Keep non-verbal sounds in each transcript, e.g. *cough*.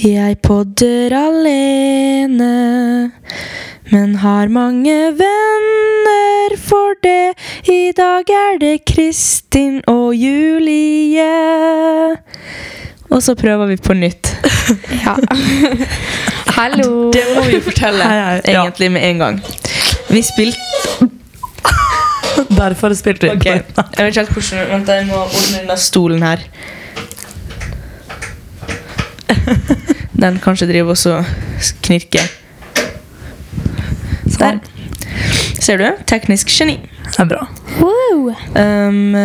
Jeg podder alene, men har mange venner for det. I dag er det Kristin og Julie. Og så prøver vi på nytt. *laughs* Ja. Hallo. Det må vi *laughs* fortelle Hei, hei. Ja. egentlig med en gang. Vi spilte Derfor spilte vi Ok, Jeg okay. vet ikke helt hvordan Vent, jeg må ordne den der stolen *laughs* her. Den kanskje driver også og knirker. Der. Sånn. Ser du? Teknisk geni. Det er bra. Wow. Um,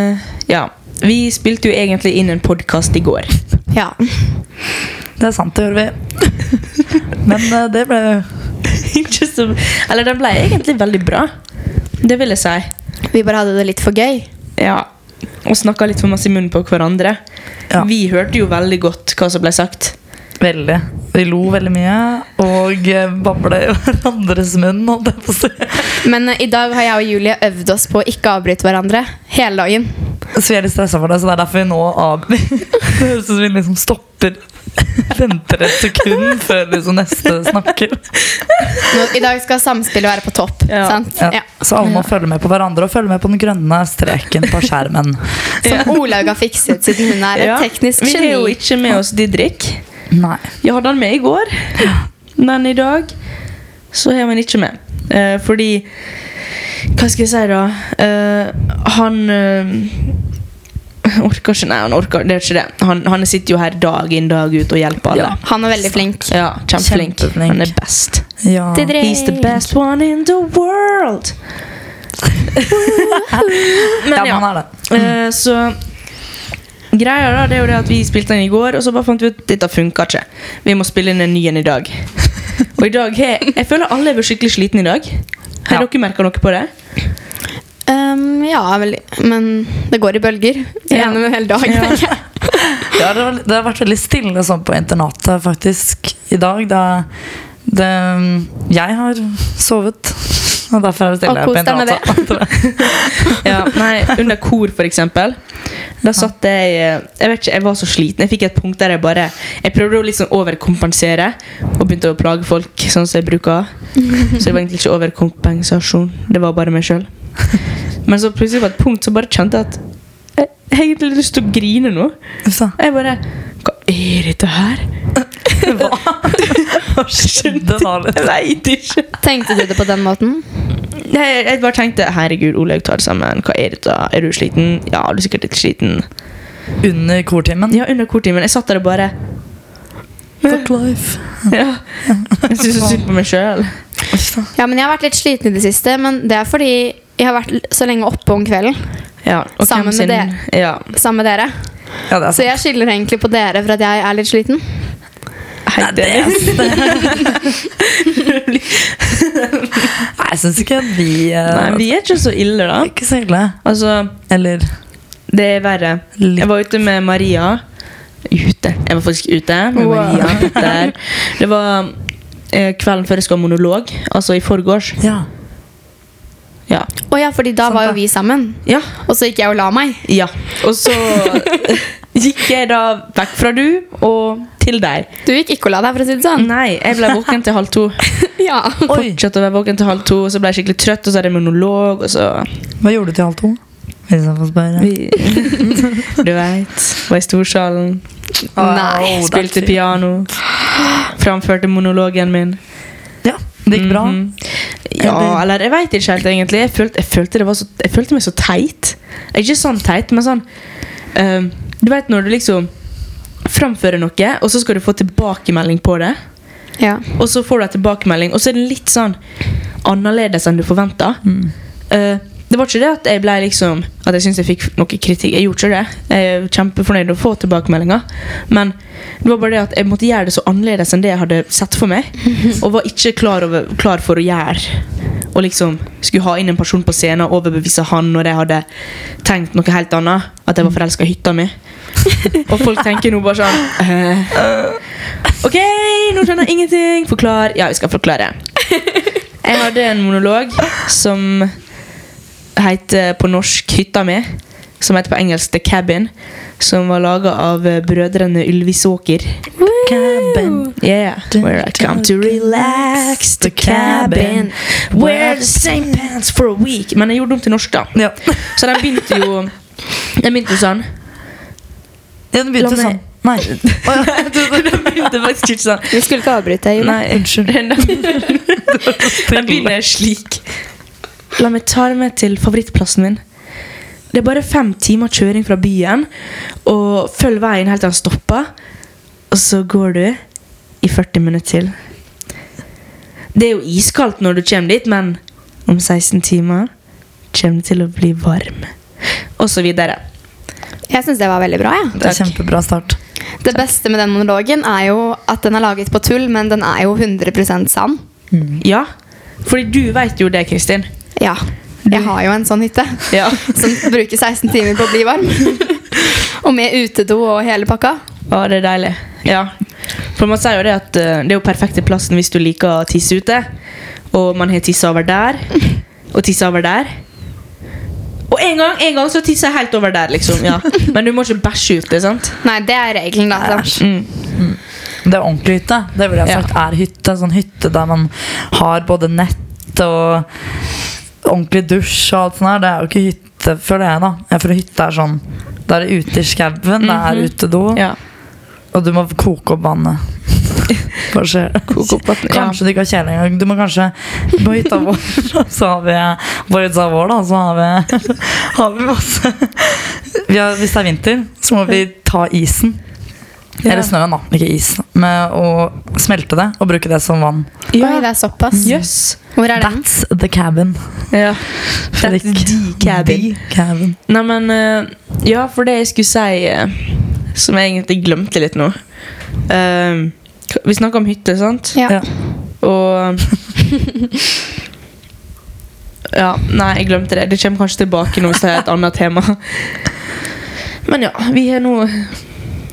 ja. Vi spilte jo egentlig inn en podkast i går. Ja. Det er sant, det gjør vi. *laughs* Men eh, det ble *laughs* Ikke så, eller den ble egentlig veldig bra. Det vil jeg si. Vi bare hadde det litt for gøy. Ja. Og snakka litt for masse i munnen på hverandre. Ja. Vi hørte jo veldig godt hva som ble sagt. veldig. Vi lo veldig mye og eh, babla i hverandres munn. Holdt jeg på å si. Men eh, i dag har jeg og Julie øvd oss på å ikke avbryte hverandre hele dagen. Så vi er litt stressa for det, så det er derfor vi nå av... *laughs* Det høres ut som vi liksom stopper. *laughs* Venter et sekund før liksom neste snakker. Nå, I dag skal samspillet være på topp. Ja. Sant? Ja. Ja. Så alle må følge med på hverandre og følge med på den grønne streken på skjermen. Som Olaug har fikset, siden hun er Ja. et teknisk Vi har jo geni. ikke med oss Didrik. Nei. Jeg hadde han med i går, men i dag så har vi han ikke med. Eh, fordi Hva skal jeg si, da? Eh, han eh, orker ikke Nei, han orker det er ikke det. Han, han sitter jo her dag inn dag ut og hjelper alle. Ja. Han er veldig flink. Ja, kjempeflink. Kjempeflink. Han er best. Ja. Didrik. He's the best one in the world. *laughs* ja, Men ja. man er det. Eh, så greia da, det er jo det at vi spilte den i går, og så bare fant vi ut at dette funka ikke. Vi må spille inn en ny en i dag. Og i dag har Jeg føler alle har vært skikkelig slitne i dag. Har Ja. dere merka noe på det? Um, ja, veldig. Men det går i bølger Ja. gjennom en hel dag. Ja. tenker jeg. Ja, det, var, det har vært veldig stille sånn på internatet faktisk i dag. Da, det, jeg har sovet, og derfor er det stille Og på kos deg med altså. internatet. *laughs* Ja, nei, Under kor, for eksempel. Da satt jeg eh, Jeg vet ikke, jeg var så sliten. Jeg fikk et punkt der jeg bare Jeg prøvde å liksom overkompensere og begynte å plage folk sånn som jeg *laughs* bruker. Så det var egentlig ikke overkompensasjon. Det var bare meg sjøl. Men så plutselig på et punkt så bare kjente jeg at jeg jeg har egentlig lyst til å grine nå. *laughs* Så, Og jeg bare Hva er dette her? *laughs* hva skjedde da? litt? Jeg veit ikke. *laughs* Tenkte du det på den måten? Nei, jeg bare tenkte Herregud, Olaug, ta det sammen. Hva er dette? Er du sliten? Ja, du er sikkert litt sliten. Under kortimen. Ja, under kortimen. Jeg satt der og bare Fuck life. ja. Jeg syns så synd på meg sjøl. Så. Ja, men Jeg har vært litt sliten i det siste, men det er fordi jeg har vært l- så lenge oppe om kvelden Ja, og hvem Sammen med sin- det. Ja. sammen med dere. Ja, det er sånn. Så sant. jeg skylder egentlig på dere for at jeg er litt sliten. Hei, Dennis. Nei, jeg syns ikke vi eh, Nei, vi er ikke så ille, da. Ikke så ille. Altså, Eller det er verre. Litt. Jeg var ute med Maria. Ute. Jeg var faktisk ute med Wow. Maria. Der. Det var eh, kvelden før jeg skal ha monolog. Altså i forgårs. Ja. Ja. Å ja, fordi Sånn da Sant var jo det. vi sammen. ja. Og så gikk jeg og la meg. Ja. Og så *laughs* gikk jeg da vekk fra du og til deg. Du gikk ikke og la deg, for å si det sånn. Nei, jeg ble våken til halv to. *laughs* Ja. Oi, Fortsatte å være våken til halv to, og så ble jeg skikkelig trøtt, og så er det monolog, og så hva gjorde du til halv to? Hvis jeg får spørre. *laughs* vi, Du veit. Var i storsalen, Nei, Au, spilte det er- piano, framførte monologen min. Ja, det gikk bra. Mhm. Ja, eller jeg veit ikke helt, egentlig. Jeg følte, jeg, følte det var så, jeg følte meg så teit. Ikke sånn teit, men sånn ehm, Du veit når du liksom framfører noe, og så skal du få tilbakemelding på det. Ja. Og så får du en tilbakemelding, og så er den litt sånn annerledes enn du forventa. Mm. Eh, det var ikke det at jeg ble liksom At jeg syntes jeg fikk noe kritikk. Jeg gjorde ikke det. Jeg er kjempefornøyd med å få tilbakemeldinger. Men det var bare det at jeg måtte gjøre det så annerledes enn det jeg hadde sett for meg. Og var ikke klar, over, klar for å gjøre Og liksom skulle ha inn en person på scenen og overbevise han når jeg hadde tenkt noe helt annet. At jeg var forelska i hytta mi. Og folk tenker nå bare sånn eh, OK, nå skjønner jeg ingenting. Forklar. Ja, vi skal forklare. Jeg hadde en monolog som heter eh, på norsk 'Hytta mi', som heter på engelsk 'The Cabin', som var laga av eh, brødrene Ylvisåker. cabin. Yeah, where I come to relax the cabin. Wear the same pants for a week. Men jeg gjorde det om til norsk, da. Ja. Så den begynte jo *laughs* Den begynte jo sånn. ja, den La begynte meg- sånn. Nei. Å, ja. Den begynte faktisk ikke sånn. Vi skulle ikke avbryte deg. Jon. Nei, unnskyld. *laughs* Den begynner slik. La meg ta deg med til favorittplassen min. Det er bare fem timer kjøring fra byen, og følg veien helt til den stopper. Og så går du i 40 minutter til. Det er jo iskaldt når du kommer dit, men om 16 timer kommer det til å bli varm. Og så videre. Jeg syns det var veldig bra. Ja. Det er Takk. kjempebra start. Det beste med den monologen er jo at den er laget på tull, men den er jo 100 sann. Ja, fordi du vet jo det, Kristin. Ja. Jeg har jo en sånn *laughs* hytte Ja. *laughs* som bruker 16 timer på å bli varm. og med utedo og hele pakka. Ja, det er deilig. Ja. For man sier jo det at eh, det er jo perfekte plassen hvis du liker å tisse ute. Og man har tissa over der, og tissa over der. Og en gang, en gang så tisser jeg helt over der, liksom. Ja. Men du må ikke bæsje ute, sant? Nei, det er regelen, da. Så. Mm. Det er ordentlig hytte. Det vil jeg ha sagt er hytte. Sånn hytte der man har både nett og ordentlig dusj og alt sånt her. Det er jo ikke hytte, føler jeg, da. Jeg føler hytte er sånn Da er det ute i skauen, det er utedo, Ja. og du må koke opp *laughs* vannet. Hva skjer? Kanskje du ikke har kjele engang. Du må kanskje På hytta vår *laughs* så har vi På hytta vår, da, så har vi, *laughs* har vi masse vi har, Hvis det er vinter, så må vi ta isen. Ja. Eller snøen, da. Ikke is. Med å smelte det og bruke det som vann. Oi, det er såpass. Jøss. Hvor er den? That's the cabin. Ja. Fredrik. the cabin. The cabin. Nei, men eh, Ja, for det jeg skulle si eh, Som jeg egentlig glemte litt nå Eh, Vi snakket om hytte, sant? Ja. Ja. Og *laughs* Ja, nei, jeg glemte det. Det kommer kanskje tilbake nå, så er det et annet tema. Men ja, vi er nå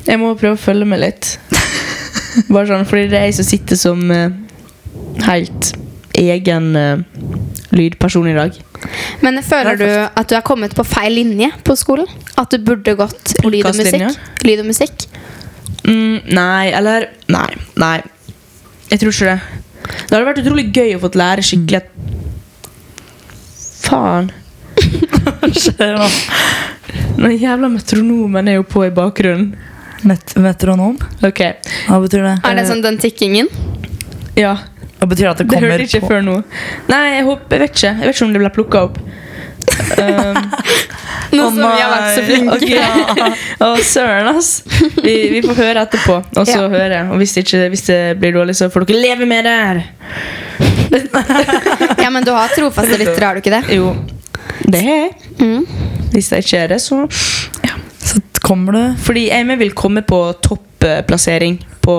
Jeg må prøve å følge med litt. Bare sånn, fordi det er jeg som sitter som eh, helt egen eh, lydperson i dag. Men føler du at du er kommet på feil linje på skolen? At du burde gått lyd og Podcastlinja? musikk? Lyd og musikk? Mm, nei, eller Nei. nei Jeg tror ikke det. Det hadde vært utrolig gøy å få lære skikkelig at Faen. Hva skjer nå? Den jævla metronomen er jo på i bakgrunnen. Met metronom? Ok, Hva betyr det? Eh, Er det sånn den tikkingen? ja. Hva betyr det at det Det kommer hørte jeg ikke på? før nå. Nei, jeg, håper, jeg vet ikke Jeg vet ikke om det ble plukka opp. Um, *laughs* Nå Å som vi har eh, vært så nei. flinke. ok. Å, søren, ass. Vi, vi får høre etterpå. Og så Ja. høre. Og hvis det, ikke, hvis det blir dårlig, så får dere leve med det her. *laughs* Ja, men du har trofaste lyttere, har du ikke det? Jo. Det har jeg. Mm. Hvis det ikke er det, så Så kommer det Fordi jeg med vil komme på topplassering på,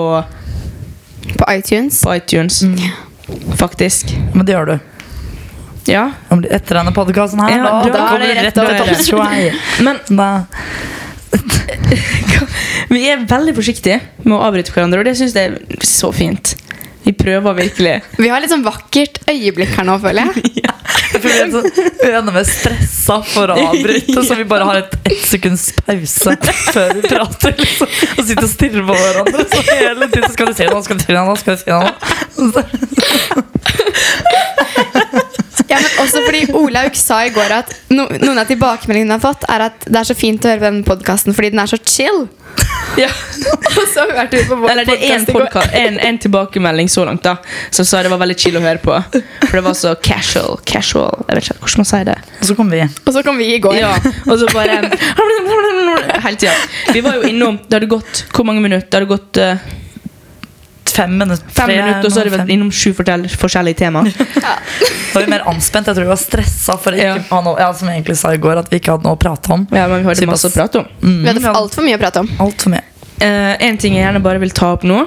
På iTunes. på iTunes. Mm. Faktisk. Men det gjør du. Ja. Om du- Etter denne podkasten her, Ja, da, da da, er kommer det du rett rett til over. topp 20. *laughs* Men Da- Vi er veldig forsiktige med å avbryte hverandre, og det syns jeg er så fint. Vi prøver virkelig. *laughs* Vi har litt sånn vakkert øyeblikk her nå, føler *laughs* jeg. Jeg tror vi er så uenige stressa for å avbryte, så vi bare har et ett sekunds pause før vi prater. Liksom, og sitter og stirrer på hverandre. Så hele tiden skal du si noe, skal du si noe, skal du si noe. Ja, men også fordi Olaug sa i går at no, noen av tilbakemeldingene hun har fått, er at det er så fint å høre på denne podkasten fordi den er så chill. *laughs* Ja. Og så hørte vi på vår Eller det er én podcast i går. podka- en, en tilbakemelding så langt, da, som sa det var veldig chill å høre på. For det var så casual. casual Jeg vet ikke hvordan man sier det. Og så kommer vi. Og så kom vi i går. Ja, Og så bare Hele tida. Vi var jo innom Det hadde gått hvor mange minutter? Det hadde gått eh, Fem minutter. fem tre, minutter, og så hadde vi fem. vært innom sju fortell- forskjellige tema. Da var vi mer anspent. Jeg tror vi var stressa for å ikke Ja. ha noe Ja, som jeg egentlig sa i går, at vi ikke hadde noe å prate om. Ja, men vi hadde Såpass. masse å prate om. Mm. Vi hadde altfor mye å prate om. Altfor mye. Eh, en ting jeg gjerne bare vil ta opp nå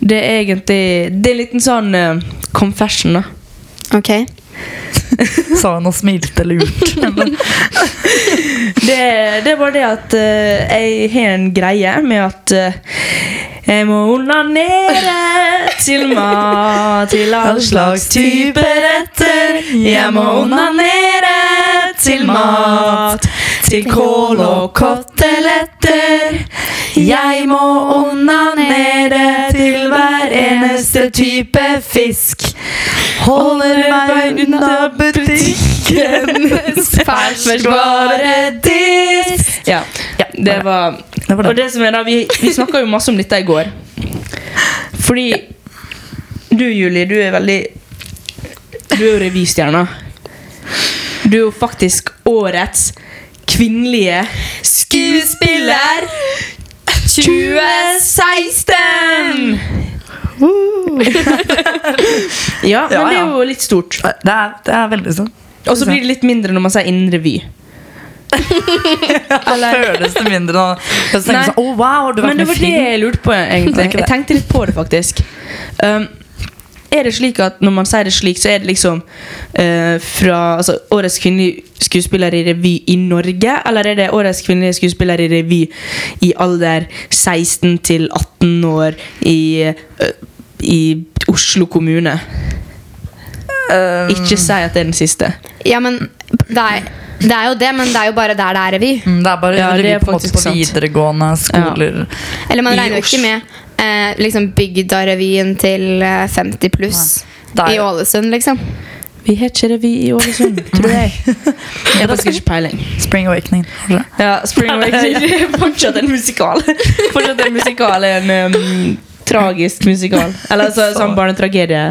Det er egentlig Det er en liten sånn eh, confession da Ok. Sa hun og smilte *laughs* lurt. Men Det, er- det er bare det at eh, Jeg har en greie med at eh, Jeg må onanere Til mat Til all slags type retter Jeg må onanere Til mat Til kål og koteletter Jeg må onanere eneste type fisk. Holder meg unna butikkenes ferskvaredisk. Ja. Ja, Det var det var Og det. det som er da, vi, vi snakka jo masse om dette i går. Fordi du, Julie, du er veldig Du er jo revystjerna. Du er jo faktisk årets kvinnelige skuespiller 2016! *laughs* ja, men Ja, det ja. er jo litt stort. Det er, det er veldig sånn. Og så blir det litt mindre når man sier innen revy. Da føles det mindre nå. Jeg tenker Nei. sånn, oh, wow, har du vært Men det med var i det film? jeg lurte på, egentlig. ikke det. Jeg tenkte litt på det, faktisk. Um, er det slik at når man sier det slik, så er det liksom eh, fra altså, årets kvinnelige skuespiller i revy i Norge? Eller er det årets kvinnelige skuespiller i revy i alder 16 til 18 år i, eh, i Oslo kommune? Eh, Ikke si at det er den siste. Ja, men det er, det er jo det, men det er jo bare der det er revy. Mm, Det er bare Ja, det revy er på, en måte faktisk på sant. videregående *laughs* skoler. Eller man I regner jo ikke Oslo. med eh, liksom bygda-revyen til eh, 50 pluss Det er- i Ålesund, liksom. Vi har ikke revy i Ålesund, *laughs* tror jeg. *laughs* Jeg har faktisk ikke peiling. Spring Awakening. kanskje. *laughs* Ja, Spring Awakening fortsatt en musikal. *laughs* Fortsatt en musikal er en um, tragisk musikal. Eller altså, sånn barnetragedie.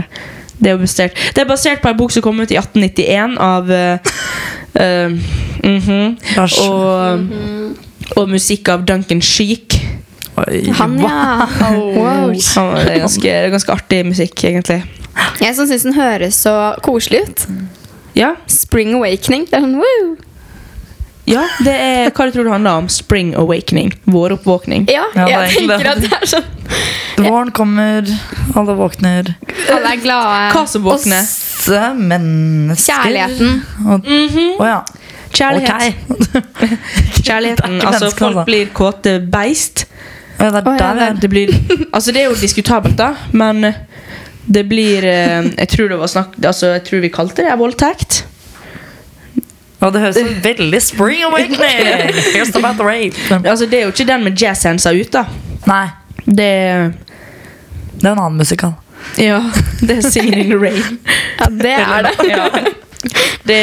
Det er, jo basert. det er basert på en bok som kom ut i 1891 av eh, eh, mhm, Lars. og, og musikk av Duncan Sheik. Oi, *laughs* Han, ja. Wow. Han- Det er ganske, det er ganske artig musikk, egentlig. Jeg som syns den høres så koselig ut. Ja, Spring Awakening. Det er sånn, woo. ja det er, Hva du tror det handler om? Spring awakening. Våroppvåkning. Ja, Ja, det er jeg egentlig tenker at det. det er sånn Våren kommer, alle våkner. Alle er glade. Hva som våkner? Åsse mennesker. Kjærligheten. Og, å ja. Mm. Kjærlighet. mhm. Ok. Kjærligheten. *laughs* Det er ikke Altså, mennesker, folk altså. blir kåte beist. Å ja, det er Å ja, der vi er. Det blir, altså det er jo diskutabelt, da, men eh, det blir eh, Jeg tror, det var snakk, altså jeg tror vi kalte det voldtekt. Ja, det høres så veldig Spring *laughs* Awakening! Here's about the rape. Altså Det er jo ikke den med jazzhandsa ut, da. Nei, Det det er en annen musikal. Ja, *laughs* det er 'Singing in the Rain'. Ja, det er det. *laughs* Ja. Det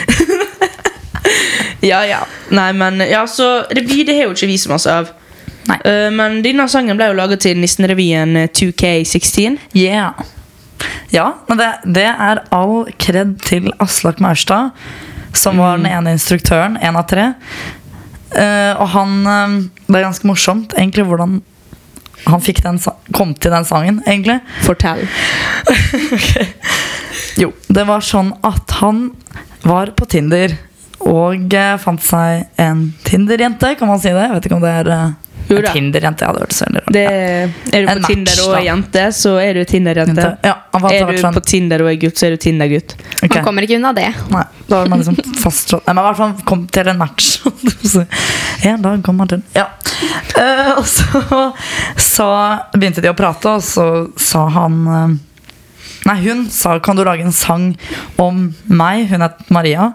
*laughs* Ja, ja. Nei, men ja, så revy det har jo ikke vi så masse av. Nei. Eh, men denne sangen ble jo laga til Nissenrevyen eh, 2K16. Yeah. Ja, men det, det er all kred til Aslak Maurstad, som var Mm. den ene instruktøren, en av tre. Eh, og han eh, Det er ganske morsomt egentlig hvordan han fikk den, sa- kom til den sangen, egentlig. Fortell. Jo, det var sånn at han var på Tinder og eh, fant seg en Tinder-jente, kan man si det? Jeg vet ikke om det er eh, Jo en da. Tinder-jente. Ja, det hørtes veldig rart Det, er du En på match, Tinder og da. er jente, så er du ut. Tinder-jente. Ja, han var Er du på Tinder og er gutt, så er du Tinder-gutt. Man kommer ikke unna det. Nei, da var man liksom fastslått Nei, men i hvert fall kom til en match *laughs* Så En dag kom man til Ja Eh, Og så, så begynte de å prate Og så sa han eh, Nei, hun sa Kan du lage en sang om meg? Hun heter Maria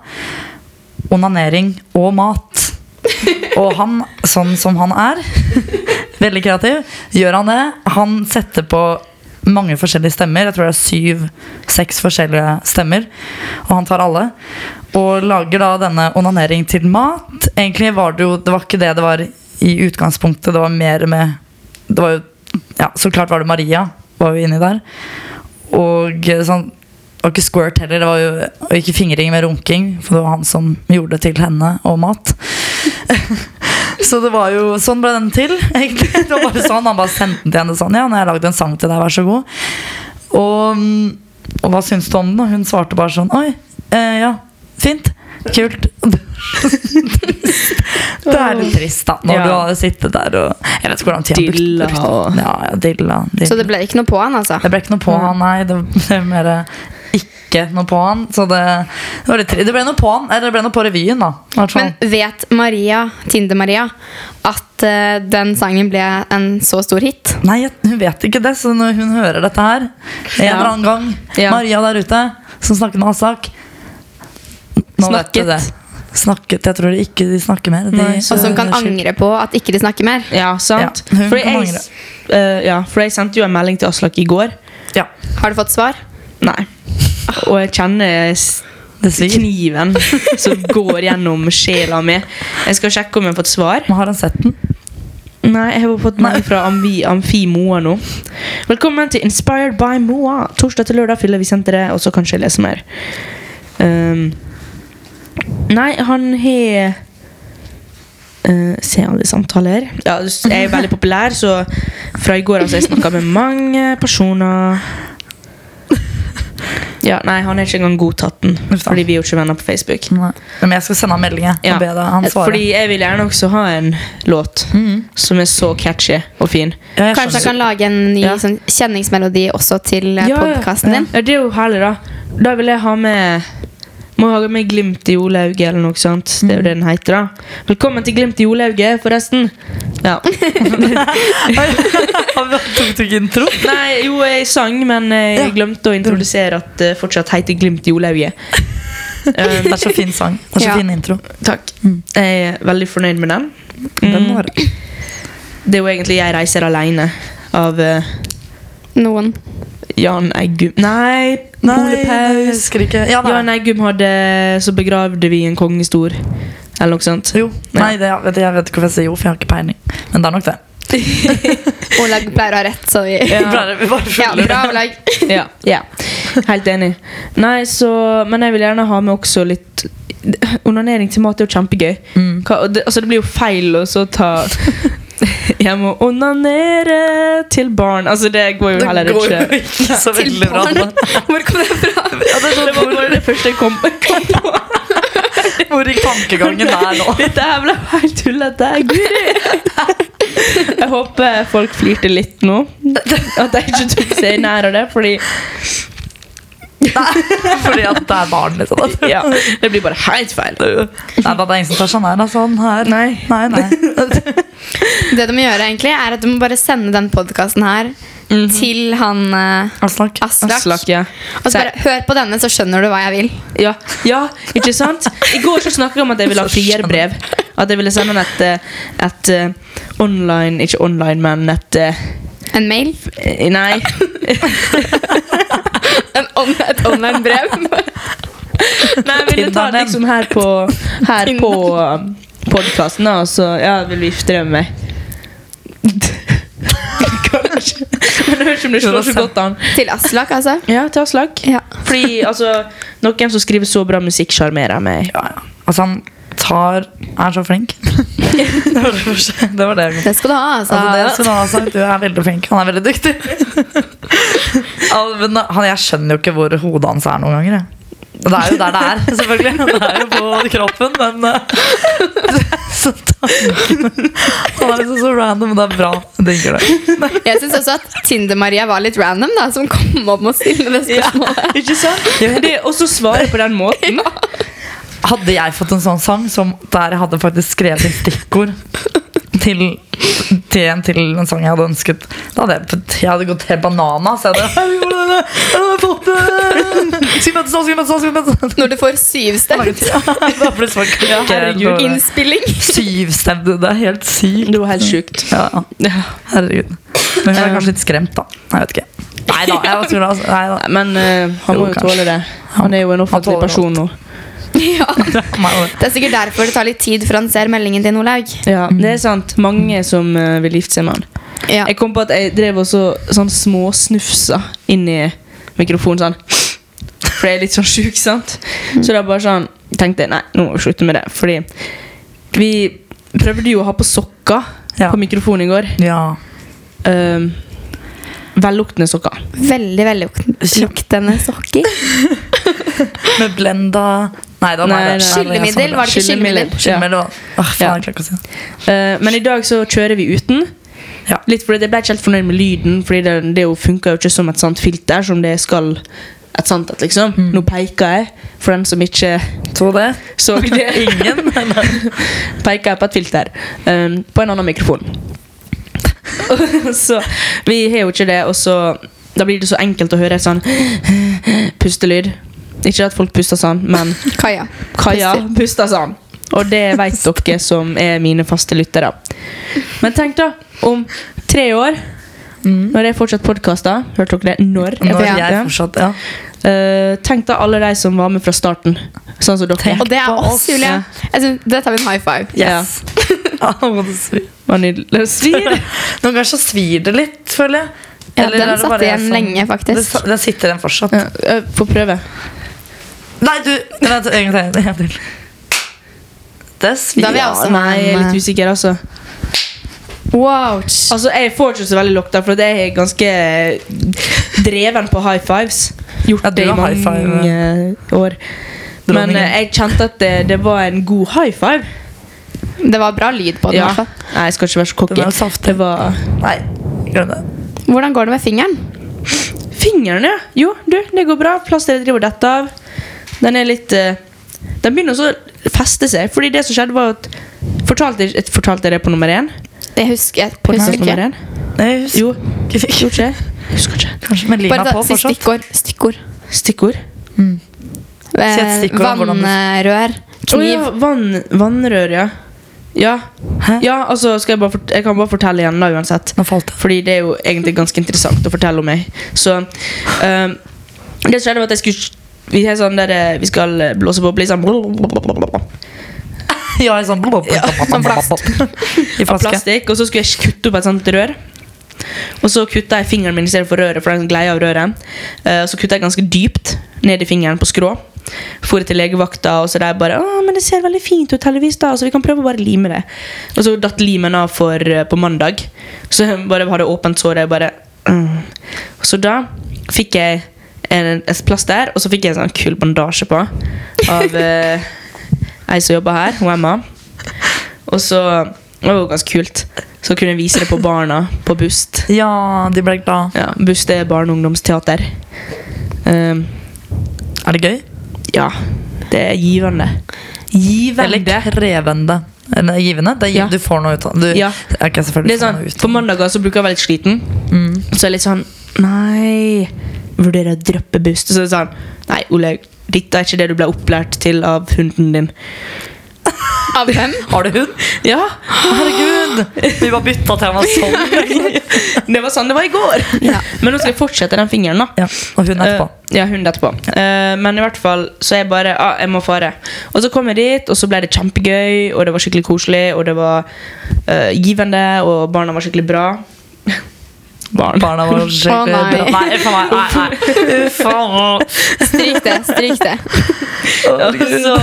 Onanering og mat Og han, sånn som han er Veldig kreativ Gjør han det Han setter på mange forskjellige stemmer Jeg tror det er syv, seks forskjellige stemmer Og han tar alle Og lager da denne onanering til mat Egentlig var det jo Det var ikke det det var i utgangspunktet Det var mer med Det var jo Ja, så klart var det Maria Var jo inni der Og eh, sånn det var ikke squirt heller, det var jo og ikke fingring med runking, for det var han som gjorde det til henne og mat. *laughs* Så det var jo, sånn ble den til, egentlig. *laughs* Det var bare sånn, Han bare sendte den til henne sånn. Ja, nå har jeg lagd en sang til deg, vær så god. Og, og hva syns du om den? Og hun svarte bare sånn Oi, eh, ja, fint. Kult. *laughs* Det er litt trist, da, når Ja. du har sittet der og Jeg vet ikke hvordan tida brukte- Dilla brukte- og- Ja, ja, dilla, dilla. Så det ble ikke noe på han, altså. Det ble ikke noe på han, nei. Det ble mer ikke noe på han. Så det, det, var litt, tri- det ble noe på han, eller det ble noe på revyen, da. i hvert fall. Men vet Maria, Tinder-Maria, at eh, den sangen ble en så stor hit? nei, jeg- hun vet ikke det, så når hun hører dette her en Ja. eller annen gang Ja. Maria der ute som snakker med Aslak nå vet du Snakket. det. snakket Jeg tror de ikke de snakker mer. De, Nei, så- Og som Altså, kan Skyld. angre på at ikke de snakker mer. Ja, sant? Ja, hun Fordi kan jeg, angre. eh, ja, for jeg sendte jo en melding til Aslak i går. Ja, Har du fått svar? Nei. Og jeg kjenner s- det svir. kniven som går gjennom sjela mi. Jeg skal sjekke om jeg har fått svar. Men har han sett den? Nei, jeg har fått melding fra Amfi, Amfi Moa nå. Velkommen til Inspired by Moa. Torsdag til lørdag fyller vi senteret, og så kanskje jeg leser mer. Ehm, nei, han har eh, Se alle samtaler. Ja, jeg er veldig populær, så fra i går har jeg snakka med mange personer. Ja, nei, han er ikke engang godtatt den, Uff da. fordi vi er jo ikke venner på Facebook. Nei. Men jeg skal sende han melding jeg, og Ja. Eh, be deg han svare. Fordi jeg vil gjerne også ha en låt Mhm. som er så catchy og fin. Ja, jeg Kanskje jeg kan skjønner. lage en ny Ja. sånn, kjenningsmelodi også til eh, Ja, ja, podkasten din? Ja, det er jo herlig, da. Da vil jeg ha med Må ha med Glimt i Olauget eller noe sånt. Det er jo det den heter, da. Velkommen til Glimt i Olauget, forresten. Ja. *laughs* Oi, Tok du ikke intro? Nei, jo, jeg sang, men jeg glemte å introdusere at det fortsatt heter Glimt i Olauget. Um, Det er så fin sang. Det er så Ja. fin intro. takk. Jeg er veldig fornøyd med den. Den Mm. var Det er jo egentlig Jeg reiser alene av eh, Noen. Jan Eggum Nei, Nei, Ole jeg Paus. husker ikke. Ja, nei. Jan Eggum hadde Så begravde vi en kongestor. Eller noe sånt. Jo. Nei, det, jeg, vet, jeg vet ikke hvorfor jeg sier jo, for jeg har ikke peiling. Men det er nok det. Olag pleier å ha rett, så vi Ja. *laughs* Bare- vi bare Ja, følger bra, det. Olag. *laughs* ja. Helt enig. Nei, så, men jeg vil gjerne ha med også litt Onanering til mat er jo kjempegøy. Mm. Hva, og det, altså det blir jo feil å så *laughs* ta Jeg må onanere til barn. Altså Det går jo heller Det går ikke. jo ikke *laughs* så Til veldig bra. barn. Hvor kom det *laughs* fra? Ja, det, er sånn, det var bare det første jeg kom, kom på. Hvor gikk tankegangen der *laughs* nå? Dette her ble helt tullete. Guri! *laughs* Jeg håper folk flirte litt nå. At jeg ikke tok seg nær av det, fordi *laughs* Fordi at det er barn, liksom. ja, *laughs* det blir bare helt feil. Nei, da, det er ingen som tar seg nær av sånn her. Nei. nei, nei. Det du må gjøre, egentlig, er at du må bare sende den podkasten her Mhm. til han eh, Aslak. Aslak. Aslak, ja. Og så bare hør på denne, så skjønner du hva jeg vil. Ja, ja, ikke sant? I går så snakket jeg om at jeg ville ha frierbrev. At jeg ville sende et, eh, et eh, online Ikke online, men et eh, En mail. eh, Nei. et online-brev. Nei, jeg ville ta det liksom her på Her på podkasten, og så ja, vil vifte det med meg. Kanskje. Men jeg vet ikke om det slår så godt an. *laughs* til Aslak, altså. Ja, til Aslak. Ja. Fordi altså, noen som skriver så bra musikk, sjarmerer meg. Ja, ja. Altså, han tar Er så flink. *laughs* det var det første. Det var det. jeg kom på. Det skal du ha, altså. Altså, det skulle han ha sagt. Du er veldig flink. Han er veldig dyktig. Al- Men han, jeg skjønner jo ikke hvor hodet hans er noen ganger. Jeg. Det er jo der det er, selvfølgelig. Det er jo på kroppen, men eh, *laughs* så tanken Han er liksom så random, men det er bra. Jeg Digger det. Jeg syns også at Tinder-Maria var litt random, da, som kom opp med å stille det spørsmålet. Ikke sant? Det er også svare på den måten. Hadde jeg fått en sånn sang som der jeg hadde faktisk skrevet inn stikkord til, til, en, til en sang jeg hadde ønsket Da hadde jeg, jeg hadde gått helt banana. Så jeg hadde, jeg gjorde det, jeg hadde fått det. Skriv dette, så, skriv dette, så, skriv dette. Når du får *laughs* syvstemt Da ble det så Ja, herregud. kult. innspilling. Syvstevne, det er helt sykt. Det var helt sjukt. Ja, ja. herregud. Men hun er kanskje litt skremt, da. Jeg vet ikke. Nei da. Jeg tror det, altså. Nei, da. *laughs* Nei, Men eh, han må Jo, jo kanskje. tåle det. Han er jo en offentlig tåler person nå. Ja. Nei, Det er sikkert derfor det tar litt tid før han ser meldingen din, Olaug. Ja, Det er sant. Mange som eh, vil gifte seg med han. Ja. Jeg kom på at jeg drev også sånn småsnufsa inn i mikrofonen sånn. For jeg er litt sånn sjuk, sant? Så da bare sånn tenkte jeg nei, nå må vi slutte med det. Fordi vi prøvde jo å ha på sokker Ja. på mikrofonen i går. Ja. Um, velluktende sokker. Veldig veldig luktende sokker. Med blenda Nei da. Nei, nei, nei, Skyllemiddel, var det ikke Skyllemiddel. skyllemiddel? Ja. sånn- Skyllemiddel. Åh, faen, Ja. jeg klarer ikke å si det. Eh, men i dag så kjører vi uten. Ja. Litt fordi Jeg ble ikke helt fornøyd med lyden, Fordi det, det jo funker jo ikke som et sånt filter. Som det skal et sant et, liksom. Nå peker jeg, for den som ikke Så det? så det. Ingen? *laughs* peker jeg på et filter eh, på en annen mikrofon. *laughs* så vi har jo ikke det, og så da blir det så enkelt å høre et sånn *gasps* pustelyd. Ikke at folk puster sånn, men Kaja. Kaja puster sånn. Og det vet dere som er mine faste lyttere. Men tenk da, om tre år, når det er fortsatt podkaster Hørte dere det? Mm. Når? er Når fortsatt jeg det? fortsatt ja. Eh, tenk da alle de som var med fra starten. Sånn som dere. Tenk. Og det er På oss, oss, Julie. ja. Jeg synes, det tar vi en high five. Yes. *laughs* Ja. må det svir. Var nydelig. Det Svir. Noen ganger så svir det litt, føler jeg. Ja, Eller er den det satt bare jeg igjen som- lenge, Det, faktisk. sa- det sitter den fortsatt. Ja, eh, Få prøve. Nei, du Vent, en gang til. En gang til. Det svir. Da vil jeg også ha Nei, jeg er en, litt usikker, altså. Wow. Altså, Jeg får ikke så veldig lokta, for jeg er ganske dreven på high fives. Gjort Ja, du det i har high five. mange år. Men Dronningen. eh, jeg kjente at det, det var en god high five. Det var bra lyd på den. i Ja. hvert fall. Nei, jeg skal ikke være så Den er jo cocky. saftig. Det var Nei, glem det. Hvordan går det med fingeren? Fingeren, ja. Jo, du, det går bra. Plasteret driver dette av. Den er litt eh, Den begynner også å feste seg. Fordi det som skjedde, var at Fortalte jeg fortalte jeg det på nummer én? Jeg husker, jeg husker Podcast ikke. nummer én? Nei, jeg husker Jo, ikke. gjorde ikke jeg? Husker ikke. Kanskje med lina Bare ta på si fortsatt. stikkord. Stikkord. Stikkord. Eh, Si et stikkord om hvordan du- Vannrør. Å Kniv. ja, vann, vannrør, ja. Ja. Hæ? ja altså, skal jeg, bare fort jeg kan bare fortelle igjen, da, uansett. Nå falt det. Fordi det er jo egentlig ganske interessant å fortelle om meg. Så ehm, Det som skjedde, var at jeg skulle Vi, er sånn der, eh, vi skal eh, blåse på liksom *laughs* Ja, i sånn blå sånn plast. *laughs* I flaske. plastikk, og så skulle jeg kutte opp et sånt rør. Og så kutta jeg fingeren min i stedet for røret. for den gleia av røret. Eh, og så kutta jeg ganske dypt ned i fingeren på skrå. For til legevakta, og så de bare Å, men det ser veldig fint ut, heldigvis, da, så vi kan prøve å bare lime det. Og så datt limen av for, eh, på mandag. Så jeg bare hadde åpent såret. bare mm. Og Så da fikk jeg en, et plaster, og så fikk jeg en sånn kul bandasje på av eh, ei som jobber her, hun Emma. Og så Det var jo ganske kult. Så kunne jeg vise det på barna på Bust. Ja, de ble glad. Ja, Bust er barne- og ungdomsteater. Ehm, Er det gøy? ja. Det er givende. Eller krevende. Eller givende. Det er Ja. giv, Du får noe ut av du, Ja. Ok, selvfølgelig Det er får sånn, noe ut På av mandager så bruker jeg å være litt sliten. Mm. Så er jeg litt sånn Nei, vurderer å droppe Bust. Så er det sånn Nei, Ole, dette er ikke det du ble opplært til av hunden din. *laughs* Av hvem? Har du hund? Ja, *laughs* Herregud! Vi bare bytta tema sånn. Det var sånn det var i går! Ja. Men nå skal jeg fortsette den fingeren, da. Ja, og hun etterpå. Eh, ja, hun etterpå. Eh, men i hvert fall så jeg bare ah, jeg må fare. Og så kom jeg dit, og så ble det kjempegøy, og det var skikkelig koselig, og det var eh, givende, og barna var skikkelig bra. Barn. Barna våre Å, nei. Nei, for meg. Nei, nei. *laughs* Uff, Stryk det. Stryk det. Og Altså, så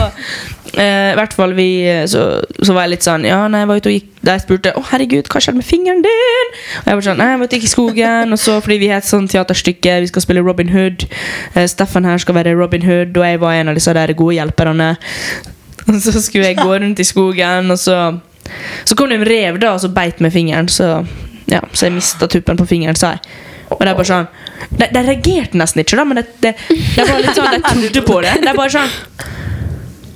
eh, i hvert fall vi eh, så, så var jeg litt sånn Ja, nei, jeg var ute og gikk Da jeg spurte Å, herregud, hva skjedde med fingeren din? Og jeg var sånn Nei, jeg var ute og gikk i skogen Og så fordi vi har et sånn teaterstykke Vi skal spille Robin Hood eh, Steffen her skal være Robin Hood Og jeg var en av disse der gode hjelperne Og så skulle jeg gå rundt i skogen Og så Så kom det en rev da Og så beit med fingeren Så Ja, så jeg mistet tuppen på fingeren Så jeg og det er bare sånn De, de reagerte nesten ikke da Men det, det, det var litt *laughs* sånn De trodde på det Det er bare sånn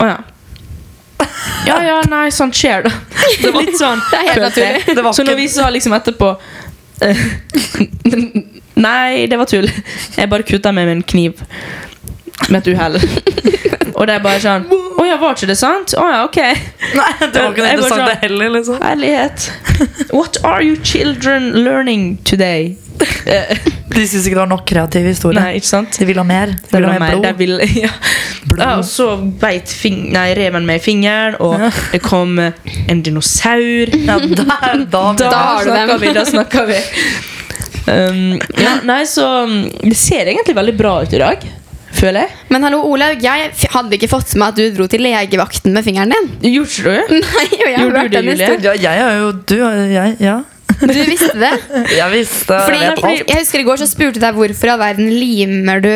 å ja. Ja, ja, nei, sånt skjer, da. Det var litt sånn. Det er helt følte jeg. naturlig. Det var Så når ikke- vi sa liksom etterpå eh, *laughs* Nei, det var tull. Jeg bare kutta med min kniv med et uhell. Og det er bare sånn Å ja, var ikke det sant? Å ja, ok. Nei, det var ikke noe Jeg bare interessant sånn- det heller, liksom. Herlighet. What are you children learning today? Eh, De syns ikke det var nok kreativ historie. nei, ikke sant? De vil ha mer. De Det vil var ha mer meg. blod. Det ville, *laughs* ja. Blod. ja, og så beit fing nei, reven meg i fingeren, og Ja. det kom eh, en dinosaur. Ja, der, da, Da, har du snakker dem. vi! Da snakker vi. Um, ja, nei, så um, Det ser egentlig veldig bra ut i dag, føler jeg. Men hallo, Olaug. Jeg f- hadde ikke fått med at du dro til legevakten med fingeren din. Gjorde ikke du det? *laughs* Nei, og jeg har Gjorde du hørt det, den Julie? historien. Ja, jeg er jo Du har- jeg, ja. Du visste det? Jeg visste Fordi, jeg vet fordi alt. jeg husker I går så spurte jeg deg hvorfor i all verden limer du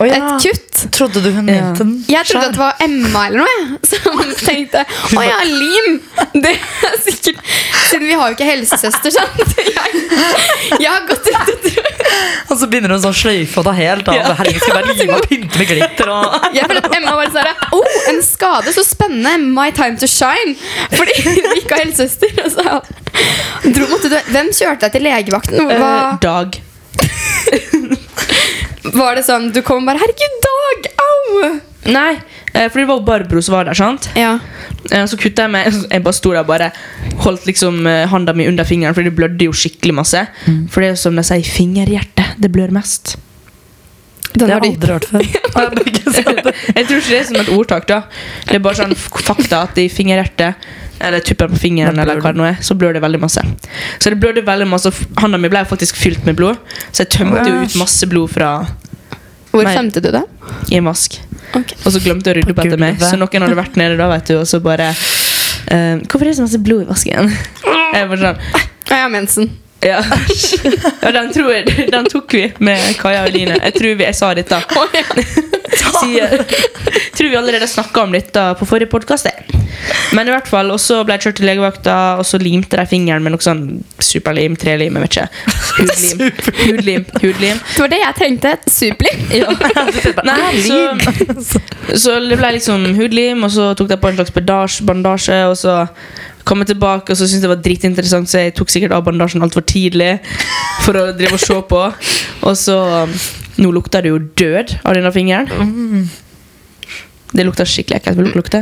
Å, ja. et kutt. Trodde du hun Ja. mente den? Jeg trodde at selv? det var Emma eller noe jeg, som tenkte å ja, lim. Det er sikkert Siden vi har jo ikke helsesøster, sant. Jeg, jeg har gått rundt og trodd Og så begynner hun sånn sløyfe og ta helt av. Ja. Herregud, skal jeg bare lime og pynte med glitter og Jeg føler at Emma var sånn her, oh, en skade, så spennende. My time to shine. Fordi vi ikke har helsesøster. Og så dro, måtte du, hvem kjørte deg til legevakten? Eh, Hva, Dag. var det sånn du kom og bare 'herregud, Dag', au! Nei, eh, fordi det var jo Barbro som var der, sant? Ja. Eh, Så kutta jeg meg. *laughs* Jeg bare sto der og bare holdt liksom eh, handa mi under fingeren, for det blødde jo skikkelig masse. Mm. For det er jo som de sier, fingerhjertet. Det blør mest. Det Den har var jeg dyp. aldri hørt før. *laughs* Og jeg blir ikke sånn. *laughs* Jeg tror ikke det er som et ordtak, da. Det er bare sånn f- fakta at i fingerhjertet, eller tuppen på fingeren, Da blør eller hva det nå er, så blør det veldig masse. Så det blødde veldig masse, og f- handa mi ble jo faktisk fylt med blod, så jeg tømte jo ut masse blod fra Hvor Nei. femte du det? i en vask. Ok. Og så glemte jeg å rydde På opp etter meg, gulvet. så noen hadde vært nede da, vet du, og så bare eh, Hvorfor er det så masse blod i *laughs* vasken? Jeg bare sånn Ja, jeg har mensen. Ja, *laughs* ja den, tror jeg, den tok vi med Kaja og Line. Jeg tror vi, jeg sa dette. Å, ja. Sier- tror vi allerede snakka om dette på forrige podkast. Men i hvert fall, og så ble jeg kjørt til legevakta, og så limte de fingeren med noe sånn superlim, trelim, jeg vet ikke. Hudlim. Hudlim. Hudlim. Det var det jeg tenkte. Superlim. Nei, *laughs* så, *laughs* så det ble liksom hudlim, og så tok jeg på en slags bandasje, bandasje og så kom jeg tilbake, og så syntes jeg det var dritinteressant, så jeg tok sikkert av bandasjen altfor tidlig for å drive og se på. Og så um, Nå lukter det jo død av denne fingeren. Mm. Det lukter skikkelig ekkelt. Vil dere lukte?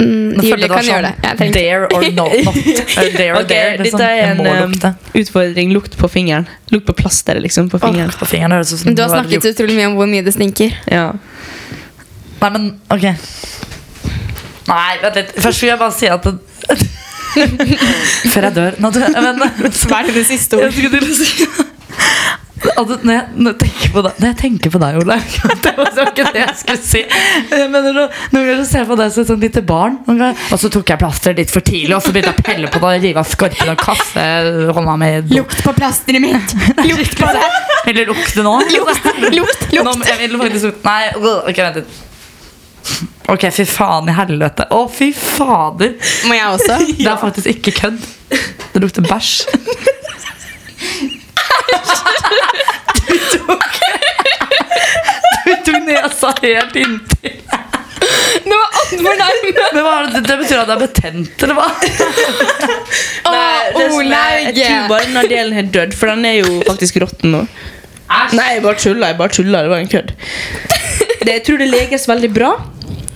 Mm, Nå følte jeg Julie det var kan gjøre det. sånn, Jeg tenkte Dare or *laughs* not. not. Eh, Dare or Ok, dare. Det er dette sånn, er um, jeg en må eh, lukte. utfordring. Lukt på fingeren. Lukt på plasteret, liksom. På fingeren. På fingeren høres ut som Men Du har det var snakket utrolig mye om hvor mye det stinker. Ja. litt- Nei, men ok. Nei, vent litt. Først vil jeg bare si at det... *laughs* Før jeg dør. Nå, dør jeg, men, Hva er det siste Jeg skulle til å si Altså, når, jeg, når, jeg tenker på deg, når jeg tenker på deg, Olaug *laughs* Det var så ikke det jeg skulle si. Jeg mener, når- Noen ganger så ser jeg på deg som et sånt lite barn. Noen ganger, Og så tok jeg plasteret litt for tidlig, og så begynte jeg å pelle på det og rive av skorpen og kaste hånda mi i do. Lukt på plasteret mitt! *laughs* Lukt på det! Vil du lukte nå? Lukt, lukt, Nå lukt. må- jeg vil faktisk lukte Nei, øh, ok, vent litt. Ok, fy faen i helvete. Å, fy fader. Må jeg også? *laughs* Det er faktisk ikke kødd. Det lukter bæsj. Du tok Du tok nesa helt inntil. Det var altfor nærme! Men hva er det, det betyr at det er betent, eller hva? Å, Nei, det som er- sånn, Olaug! Jeg tror bare denne delen har dødd, for den er jo faktisk råtten nå. Nei, jeg bare tuller. Jeg bare tuller. Det var en kødd. Det, jeg tror det leges veldig bra.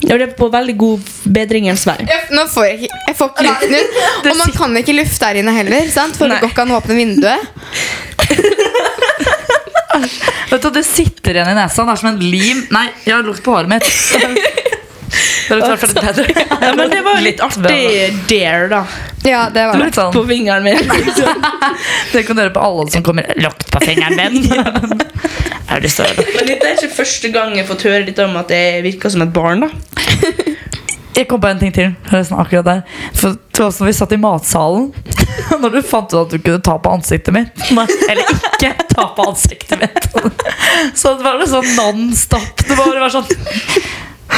Og det er på veldig god bedringens vei. Jeg- Nå får jeg ikke, jeg får ikke luften ut. Og man kan ikke lufte der inne heller, sant? for det Nei. går ikke an å åpne vinduet. Vet du, Det sitter igjen i nesa. Det er som en lim. Nei, jeg har lukt på håret mitt. Det er klart for det bedre. Ja, men det var litt artig dare, da. Ja, det var det. Litt sånn. På fingeren min. Det kan du gjøre på alle som kommer. Lukt på fingeren *laughs* min. Er du støl? Men dette er ikke første gang jeg har fått høre litt om at jeg virker som et barn, da. Jeg kom på en ting til. forresten, akkurat der For det var også Når vi satt i matsalen *laughs* Når du fant ut at du kunne ta på ansiktet mitt Nei, Eller ikke ta på ansiktet mitt Så det var det sånn non-stop Det bare var sånn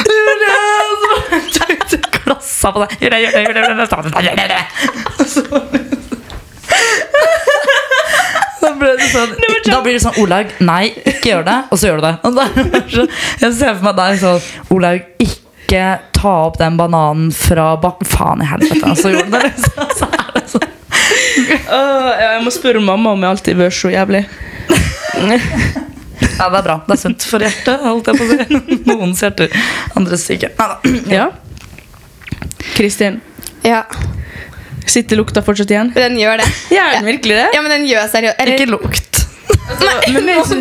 Julie! Så bare tok du klassa på deg Julie, Julie, Julie, Julie, ta på deg, Julie, Julie. Og så- Da ble det sånn Da blir det sånn Olaug, nei, ikke gjør det Og så gjør du det Og da er det så- Jeg ser for meg deg sånn Olaug, ikke ta opp den bananen fra bak Faen i helvete Og så gjorde du det liksom. Så er det sånn Åh, ja, jeg må spørre mamma om jeg alltid har vært så jævlig. Ja, det er bra. Det er sunt for hjertet, holdt jeg på å si. Noens hjerter, andres ikke. Neida. Ja. Kristin, Ja, sitter lukta fortsatt igjen? Den gjør det. Gjør den virkelig det? Ja, men den gjør seriøst. Ikke Eller, lukt. Men meg så,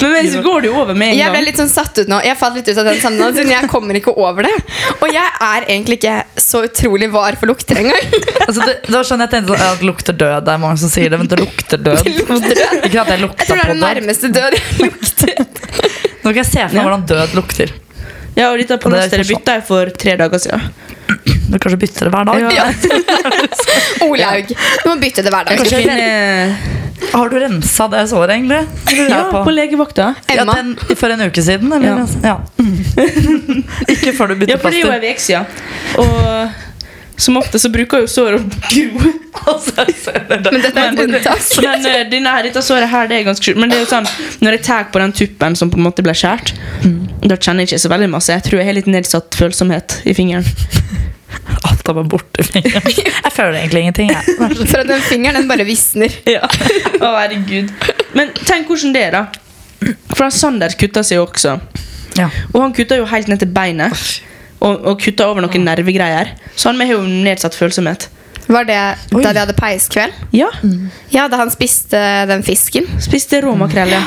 men meg så går det jo over med en jeg ble gang. litt sånn satt ut nå. Jeg falt litt ut av den sammenhengen, siden jeg kommer ikke over det. Og jeg er egentlig ikke så utrolig var for lukter engang. Altså, det, det var sånn jeg tenkte sånn, ja, det lukter død. Det er mange som sier det, men det lukter død. Det lukter død. Ikke at jeg Jeg lukta tror det er på den død. nærmeste død jeg lukter. Nå kan jeg se for meg hvordan død lukter. Ja, og dette Det er plasteret ikke sånn. bytta jeg for tre dager siden. Du kanskje bytter det hver dag. Ja. *laughs* *laughs* Olaug, du må bytte det hver dag. Kanskje- finne Har du rensa det såret, egentlig? Det lurer jeg Eh, Ja, på legevakta. Ja, Emma. den, for en uke siden, eller? Ja. Ja. *laughs* ikke før du Ja, bytter for det er jo plaster. ei uke siden. Og som ofte så bruker jo sår å gro. *laughs* *laughs* Altså, jeg ser det der. Men dette er et unntak. Men eh, denne, her- dette såret her, det er ganske sjukt. Men det er jo sånn, når jeg tar på den tuppen som på en måte ble skåret, da kjenner jeg ikke så veldig masse. Jeg tror jeg har litt nedsatt følsomhet i fingeren. Alt er bare borte. Jeg føler egentlig ingenting, jeg. For at den fingeren, den bare visner. *laughs* Ja. Å, herregud. Men tenk hvordan det er, da. For han Sander kutta seg jo også. Ja. Og han kutta jo helt ned til beinet. og, og kutta over noen nervegreier. Så han med har jo nedsatt følsomhet. Var det Oi. da de hadde peiskveld? Ja. Ja, da han spiste den fisken. Spiste rå makrell, ja.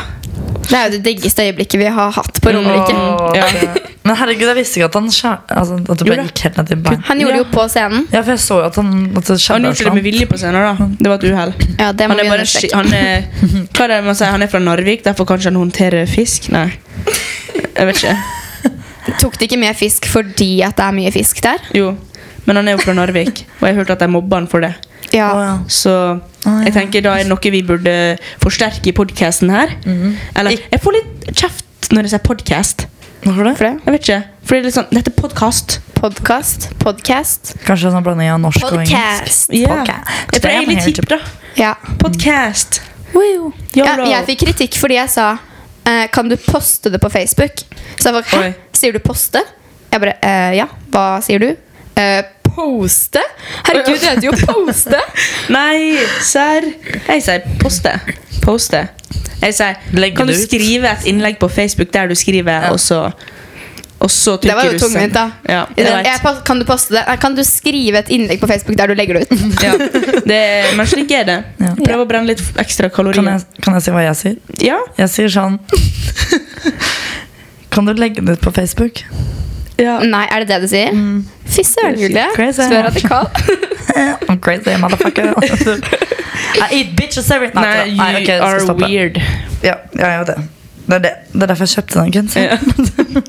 Det er jo det diggeste øyeblikket vi har hatt på romerike. Åh, Ja. det- Men herregud, jeg visste ikke at han skjær- altså, at det Jo ble da. gikk helt ned til bein. Han Ja. gjorde det jo på scenen. Ja, for jeg så jo at han at det Han skjedde sånn. gjorde ikke det med vilje på scenen, da. Det var et uhell. Ja, det må Han er vi bare understreke. ski- han er, hva er det man sier? Han er fra Narvik, derfor kanskje han håndterer fisk? Nei. Jeg vet ikke. Tok de ikke med fisk fordi at det er mye fisk der? Jo. Men han er jo fra Narvik, og jeg hørte at de mobba han for det. Ja. Åh, ja. Så ja. jeg tenker da er det noe vi burde forsterke i podkasten her. Eller Jeg får litt kjeft når jeg sier podkast. Hvorfor det? For det? Jeg vet ikke. For det er litt sånn Dette er podkast. Podkast. Podcast. Kanskje en sånn blanding av norsk og engelsk. Podcast. Yeah. Podcast. Jeg tror jeg er litt hipp, da. Ja. Podcast. ja. Yolo. Jeg fikk kritikk fordi jeg sa eh, Kan du poste det på Facebook? Så jeg bare, Oi. hæ? Sier du poste? Jeg bare, eh, ja. Hva sier du? Eh, poste? Herregud, det heter jo poste! Nei, serr. Jeg sier poste. Poste. Jeg sier Legg Kan du det ut. skrive et innlegg på Facebook der du skriver, og så og så Det var trykker jo du send. tungvint, da. Ja, jeg Den- vet. *laughs* jeg, pos- kan du poste det? Nei, Kan du skrive et innlegg på Facebook der du legger det *laughs* ut? ja. det, men slik er det. Ja. Prøv å brenne litt ekstra Kan kalorier. jeg, kan jeg si hva jeg sier? Ja, Jeg sier sånn *laughs* Kan du legge det ut på Facebook? *laughs* ja. Nei, er det det du sier? Fy søren, Julie. Crazy. Så radikal. I'm crazy, *laughs* motherfucker. I eat bitches every Nei, Nei, you ikke det. Nei, ok, jeg skal are stoppe. weird. Ja, jeg er jo det. Det er, det. det er derfor jeg kjøpte den Ja. genseren. *laughs*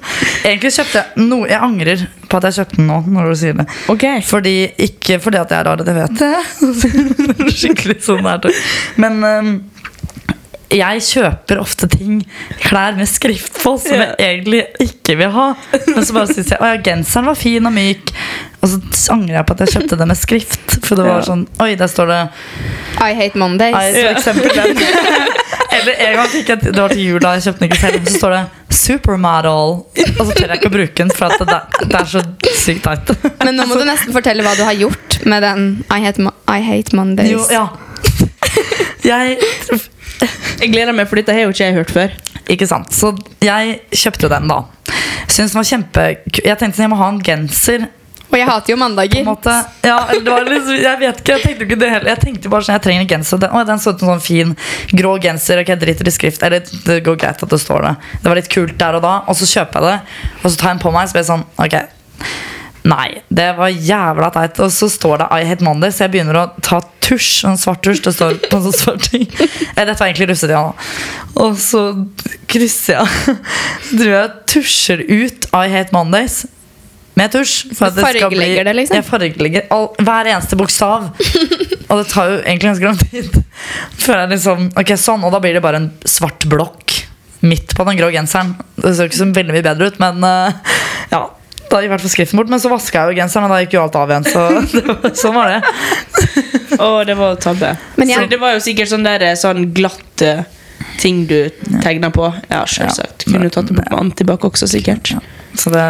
Egentlig kjøpte jeg noe Jeg angrer på at jeg kjøpte den nå, når du sier det. Ok. Fordi, ikke fordi at jeg *laughs* er rar, det vet jeg. Skikkelig sånn er det. Men ehm, jeg kjøper ofte ting, klær med skrift på, som Ja. jeg egentlig ikke vil ha. Men så bare syns jeg at genseren var fin og myk. Og så angrer jeg på at jeg kjøpte det med skrift. For det var Ja. sånn Oi, der står det I hate Mondays. Nei, for eksempel den. Eller en gang fikk jeg Det var til jul, da. Jeg kjøpte den ikke selv. Så står det 'Supermodel'. Og så tør jeg ikke å bruke den, for at det, der- det er så sykt teit. Men nå må du nesten fortelle hva du har gjort med den I hate, Mo- I hate Mondays. Jo, ja. Jeg Jeg gleder meg, for dette har jo ikke jeg hørt før. Ikke sant. Så jeg kjøpte den, da. Syns den var kjempeku- Jeg tenkte sånn, jeg må ha en genser. Og jeg hater jo på mandager. en måte. Ja, eller det var liksom, jeg vet ikke, jeg tenkte jo ikke det heller. Jeg tenkte jo bare sånn, jeg trenger en genser. Den, å, den så ut som sånn fin grå genser. Ok, jeg driter i skrift. Eller det går greit at det står det. Det var litt kult der og da, og så kjøper jeg det. Og så tar jeg den på meg, så blir jeg sånn, ok. Nei, det var jævla teit. Og så står det I hate Monday, så jeg begynner å ta tusj. En svart tusj. Det står på en sånn svart ting. Eh, Dette var egentlig russetida nå. Og så krysser jeg. *laughs* Tror jeg tusjer ut I hate Mondays. Med tusj. for at det skal bli- Fargelegger det, liksom? Jeg fargelegger all, hver eneste bokstav. Og det tar jo egentlig ganske lang tid. *laughs* Før jeg liksom, ok, sånn, Og da blir det bare en svart blokk midt på den grå genseren. Det ser jo ikke så veldig mye bedre ut, men eh, ja. Da gikk i hvert fall skriften bort, men så vaska jeg jo genseren, og da gikk jo alt av igjen. Så *laughs* det var, sånn var det. Å, det var tabbe. Men jeg- Så det var jo sikkert sånn der eh, sånn glatt eh, ting du tegna på. Ja, selvsagt. Kunne du tatt det bort med antibac også, sikkert. Så det,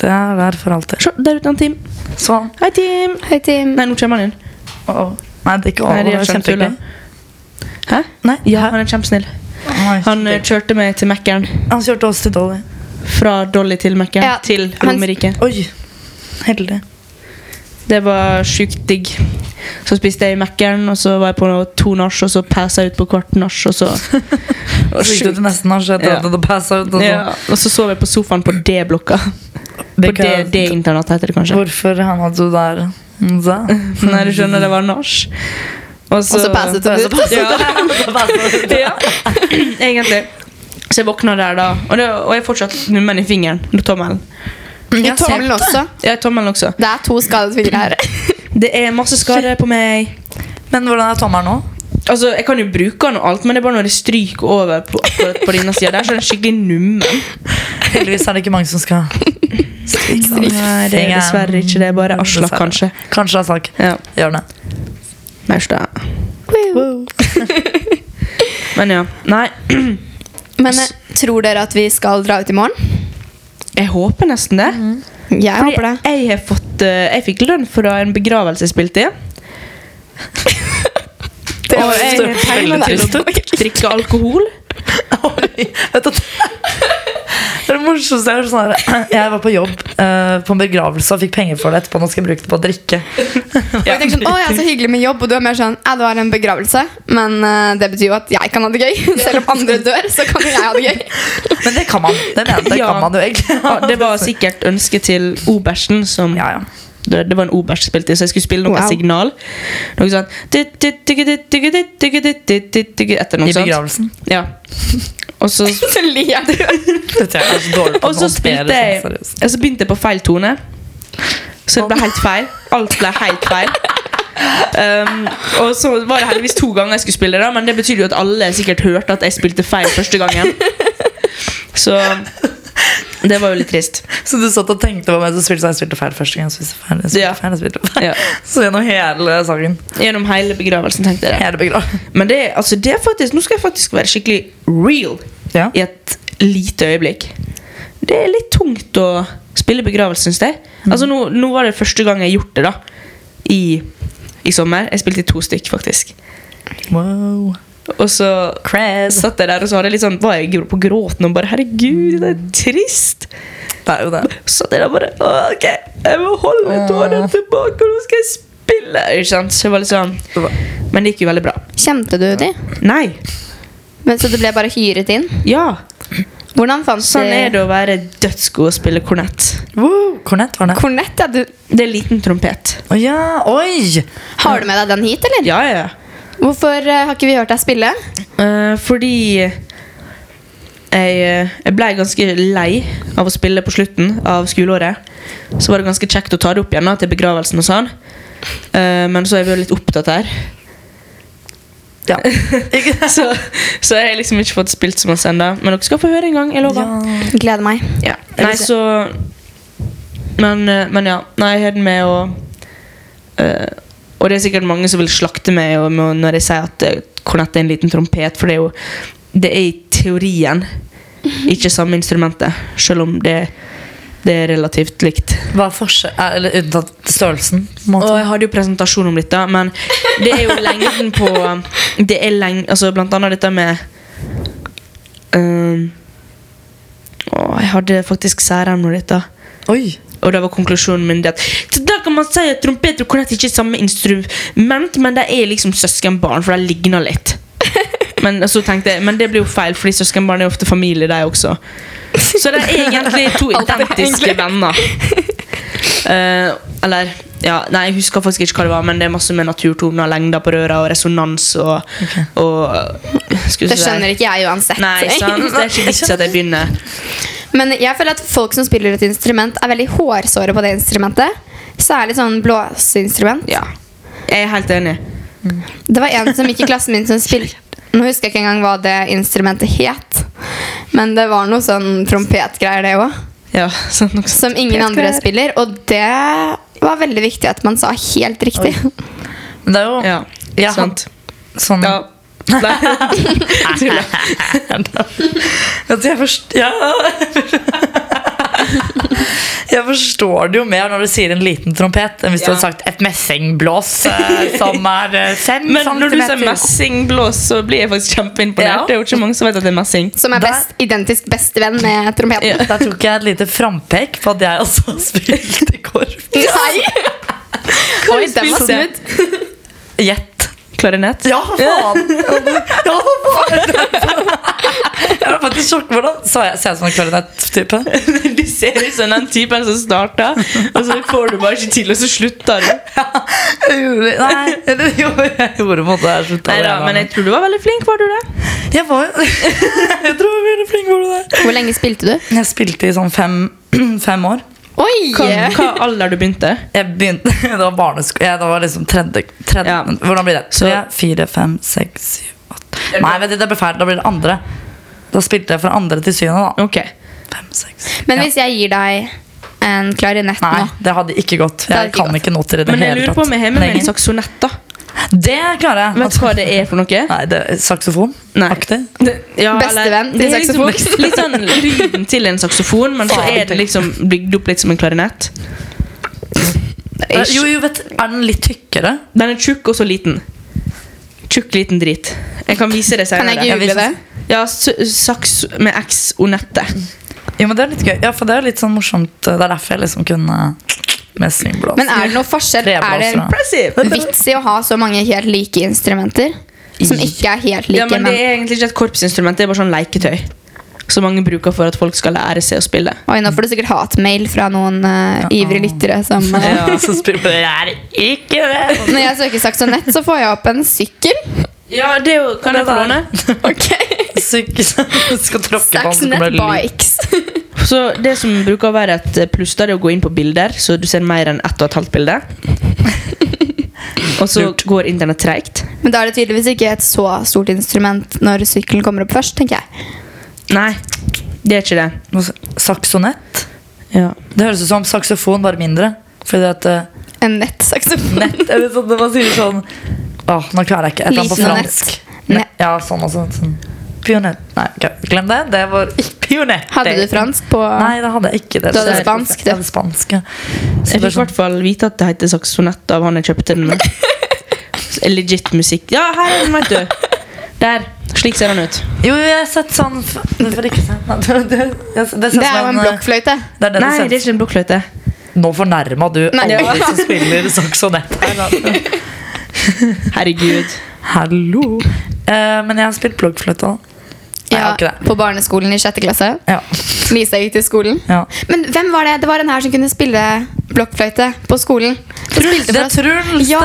det er der for alltid. Se, der ute er Tim. Sånn. Hei, Tim. Hei, Tim. Nei, nå kommer han inn. Åh. Nei, det er ikke Nei, over. det Det er er kjempehyggelig. kjempehyggelig. Hæ? Nei, Ja, han er kjempesnill. han, Han eh, kjørte meg til Mækkern. han kjørte oss til Dolly. Fra Dolly til Mækkern Ja, til han- Romerike. Oi. Heldig. Det var sjukt digg. Så spiste jeg i Mækkern, og så var jeg på to nach, og så passa jeg ut på kvart nach, og så Og så gikk du til nesten han skjøt Ja. og det passa ut. Og *laughs* sånn. ja, Og så sov jeg på sofaen på D-blokka. På Because- D-internat, heter det kanskje. Hvorfor havna du der? Nza? Nei, du skjønner, det var nach. Og Og så passet du ut. Ja. *laughs* *laughs* ja. Egentlig. Så jeg våkna der da, og, det, og jeg fortsatt nummen i fingeren. Tommelen. I tommelen også. Ja, tommelen også. Det er to skadet fingre her. Det er masse skader på meg. Men hvordan er tommelen nå? Altså, Jeg kan jo bruke den og alt, men det er bare når jeg stryker over på, på, på denne sida. Der så er den skikkelig nummen. Heldigvis er det ikke mange som skal Nei, det er dessverre ikke det. Bare Aslak, Dessverre. kanskje. Kanskje Aslak. Ja, Gjør det. *laughs* Maurstad. Men ja. Nei, *clears throat* Men eh, tror dere at vi skal dra ut i morgen? jeg håper nesten Mhm. det. Jeg Fordi håper det. jeg har fått eh, Jeg fikk lønn fra en begravelse jeg spilte i. Det Og jeg støtt- har penger til å drikke alkohol. Oi, vet du at- Det er det morsomste jeg har hørt. Sånn her, jeg var på jobb eh, på en begravelse og fikk penger for det etterpå. Nå skal jeg bruke det på å *laughs* drikke. Og jeg tenker sånn, å ja, så hyggelig med jobb Og du er mer sånn, ja, det var en begravelse Men eh, det betyr jo at jeg kan ha det gøy *laughs* Selv om andre dør, så kan jo jeg ha det gøy *laughs* Men det kan man. Det, mener, jeg, det Ja. kan man jo egentlig. Ja, det var sikkert ønsket til obersten som Ja, ja. det, det var en oberst som spilte, så jeg skulle spille noe Wow. signal. Noe sånn Etter noe I sånt. begravelsen. Ja. Og så, Så ler du Dette er jeg så dårlig på og så å håndtere, spilte jeg sånn seriøst. Og så begynte jeg på feil tone. Så det ble helt feil. Alt ble helt feil. Um, og så var det heldigvis to ganger jeg skulle spille, da men det betyr jo at alle sikkert hørte at jeg spilte feil første gangen. Så det var jo litt trist. Så du satt og tenkte på meg, så spilte så jeg spilte feil første gang. Så spilte jeg feil, Ja. jeg spilte feil, jeg spilte feil. Ja. *laughs* Så gjennom hele sangen. Gjennom hele begravelsen tenkte jeg det. Hele begravelsen. Men det, er- altså, det er faktisk, nå skal jeg faktisk være skikkelig real Ja. i et lite øyeblikk. Det er litt tungt å spille begravelse, syns jeg. Altså, nå, nå var det første gang jeg har gjort det da i, i sommer. Jeg spilte i to stykk, faktisk. Wow. Og så satt jeg der og så hadde jeg litt sånn, var jeg på gråten og bare Herregud, det er trist! Det er jo det. Så satt jeg der bare «Åh, OK, jeg må holde tårene tilbake, og nå skal jeg spille! Ikke sant? Så jeg var litt sånn Det var- Men det gikk jo veldig bra. Kjente du de? Nei. Men så du ble bare hyret inn Ja. Hvordan fant du Sånn er det å være dødsgod å spille kornett. Wow. Kornett var det. Kornett, ja, du Det er liten trompet. Å ja, oi! Har du med deg den hit, eller? Ja, ja. Hvorfor eh, har ikke vi hørt deg spille? Eh, fordi jeg, eh, jeg ble ganske lei av å spille på slutten av skoleåret. Så var det ganske kjekt å ta det opp igjen da, til begravelsen og sånn. Eh, men så har jeg vært litt opptatt her. Ja. Ikke- *laughs* Så, så jeg har liksom ikke fått spilt som oss ennå. Men dere skal få høre en gang. Jeg lover. ja. Gleder meg Ja. Nei, så men, eh, men ja. Nei, jeg har den med og eh, Og det er sikkert mange som vil slakte meg og, med- når jeg sier at eh, kornett er en liten trompet, for det er jo Det er i teorien ikke samme instrumentet, selv om det, det er relativt likt. Hva er forskjell er- Eller unntatt størrelsen? på en måte. Og jeg hadde jo presentasjon om dette, men det er jo lengden på Det er leng, altså Blant annet dette med eh, Å, jeg hadde faktisk særemne om dette. Oi! Og da var konklusjonen min det at Så da kan man si at trompet og kornett ikke er samme instrument, men de er liksom søskenbarn, for de ligner *laughs* litt. Men så tenkte jeg, men det blir jo feil, fordi søskenbarn er ofte familie, de også. Så det er egentlig to *laughs* Alt er identiske egentlig- venner. Eh, eller ja, Nei, jeg husker faktisk ikke hva det var, men det er masse med naturtoner, lengder på røra og resonans og, og Det skjønner ikke jeg uansett Nei, *laughs* sant? Det er ikke vits at jeg begynner. Men jeg føler at folk som spiller et instrument, er veldig hårsåre på det instrumentet. Særlig sånn blåseinstrument. Ja. Jeg er helt enig. Det var en som gikk i klassen min som spilte Nå husker jeg ikke engang hva det instrumentet het. Men det var noe sånn trompetgreier, det òg. Ja, sant nok. Som ingen andre spiller. Og det var veldig viktig at man sa helt riktig. Men det er jo Ja, jeg sant. Had, sånn Ja. *laughs* Nei. *laughs* Vet du, Altså, jeg forstår ja. *laughs* Jeg forstår det jo mer når du sier en liten trompet enn hvis du Ja. hadde sagt et messingblås eh, som er eh, fem Men når du sier centimeter. messingblås, så blir jeg faktisk kjempeimponert. Ja. Det er jo ikke mange som vet at det er messing. Som er Der- best, identisk bestevenn med trompeten. Der tok jeg et lite frampek på at jeg også *laughs* har spilt i korps. *laughs* Nei! Oi, den var spilte- smooth. Gjett. Klarinett. *laughs* Ja, for faen! Ja, for faen! Jeg var faktisk sjokk. Hvordan så jeg ser jeg ut som en klarinett-type? *laughs* Du ser ut som den typen som starter, og så får du bare ikke til, og så slutter du. Jeg gjorde, *laughs* nei, eller jo, jeg gjorde på en måte jeg slutta Nei da, men jeg tror du var veldig flink, var du det? Jeg *laughs* var jo Jeg tror jeg var veldig flink var du det. Hvor lenge spilte du? Jeg spilte i sånn fem, *clears throat* fem år. Oi! Hva, hva alder du begynte? Jeg begynte, *laughs* Det var barnesko... Jeg, det var liksom tredje, tredje Ja. Hvordan blir det? Så- Tre, fire, fem, seks, syv, åtte Nei, vet du, det ble feil. Da blir det andre. Da spilte jeg fra andre til syvende, da. Ok. Fem, seks Men Ja. hvis jeg gir deg en klarinett Nei, nå det hadde ikke gått. Jeg hadde ikke kan gått. ikke noter i det Men jeg hele lurer på om jeg har med meg en Lenger. saksonett. da Det klarer jeg. Vet du hva det er for noe? Nei, det er saksofon? Nei. Aktig? Det- ja, eller- Bestevenn til det er liksom saksofon. Litt sånn lyden til en saksofon, men så er det liksom bygd opp litt som en klarinett. Eh, Jo, jo, vet du, Er den litt tykkere? Den er tjukk og så liten. Tjukk, liten drit. Jeg kan vise det Kan senere. jeg google det? Ja, s- saks med X og nette. Jo, men det er litt gøy. Ja, for det er litt sånn morsomt. Det er derfor jeg liksom kunne med svingblås. Men er det noe forskjell? Er Treblåser, ja. det Impressive! vits i å ha så mange helt like instrumenter? Som ikke er helt like, Ja, men men det er egentlig ikke et korpsinstrument, det er bare sånn leketøy. Som mange bruker for at folk skal lære seg å spille. Oi, nå får du sikkert hatmail fra noen eh, ivrige lyttere som eh, *laughs* Ja, *laughs* så spiller jeg er ikke det. Når jeg søker Saxonett, så får jeg opp en *laughs* sykkel. Ja, det er jo Kan jeg få låne? *laughs* Ok Syk, *laughs* skal tråkke på den, så kommer Saxonett det lyd. bikes. Så det som bruker å være et eh, pluss, da, det er å gå inn på bilder, så du ser mer enn ett og et halvt *laughs* bilde. Og så går internett treigt. *laughs* Men da er det tydeligvis ikke et så stort instrument når sykkelen kommer opp først, tenker jeg. Nei, det er ikke det. Noe s- Saksonett? Ja. Det høres ut som saksofon, bare mindre. Fordi at eh, En nettsaksofon. nett Eller sånn, man sier sånn Åh, nå klarer jeg ikke. Et eller annet på Liten og nett. fransk. Ne- Ne- Ja, sånn og sånn. sånn. Pionett. Nei, ok, glem det. Det var pionett. Hadde du fransk på Nei, det hadde jeg ikke. Det. Du hadde Så- spansk, du. Jeg hadde spansk, ja. Så Jeg det er fikk i sånn, hvert fall vite at det heter saksonett av han jeg kjøpte *laughs* den med. Legit musikk. Ja, her er den, vet du. Der. Slik ser den ut. jo, jo, jeg har sett sånn f- Det får ikke se. Nei, *laughs* Det, det, jeg- sånn, eh, det, ser Det er som jo en blokkfløyte. Det er det Nei, det du er ser. ikke en blokkfløyte. Nå fornærma du Nei, alle ja. de *laughs* som spiller saksonett. Herregud. Hallo. Eh, men jeg har spilt blokkfløyte. da. Nei, jeg Ja, har ikke det. på barneskolen i sjette klasse. Ja. Lisa gikk til skolen. ja. Men hvem var det? Det var den her som kunne spille blokkfløyte på skolen. Hun spilte Det for er oss. Truls, Ja!